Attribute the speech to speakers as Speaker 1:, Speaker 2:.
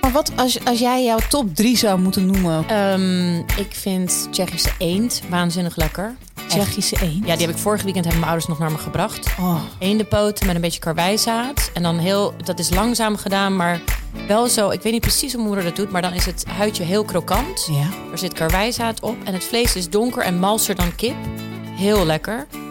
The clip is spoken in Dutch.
Speaker 1: Maar wat als, als jij jouw top 3 zou moeten noemen?
Speaker 2: Ehm, ik vind Tsjechische eend waanzinnig lekker.
Speaker 1: Tsjechische eend.
Speaker 2: Ja, die heb ik vorig weekend hebben mijn ouders nog naar me gebracht.
Speaker 1: Oh.
Speaker 2: Eendenpoten met een beetje karwijzaad. En dan heel, dat is langzaam gedaan, maar wel zo. Ik weet niet precies hoe mijn moeder dat doet, maar dan is het huidje heel krokant.
Speaker 1: Ja.
Speaker 2: Er zit karwijzaad op en het vlees is donker en malser dan kip. Heel lekker.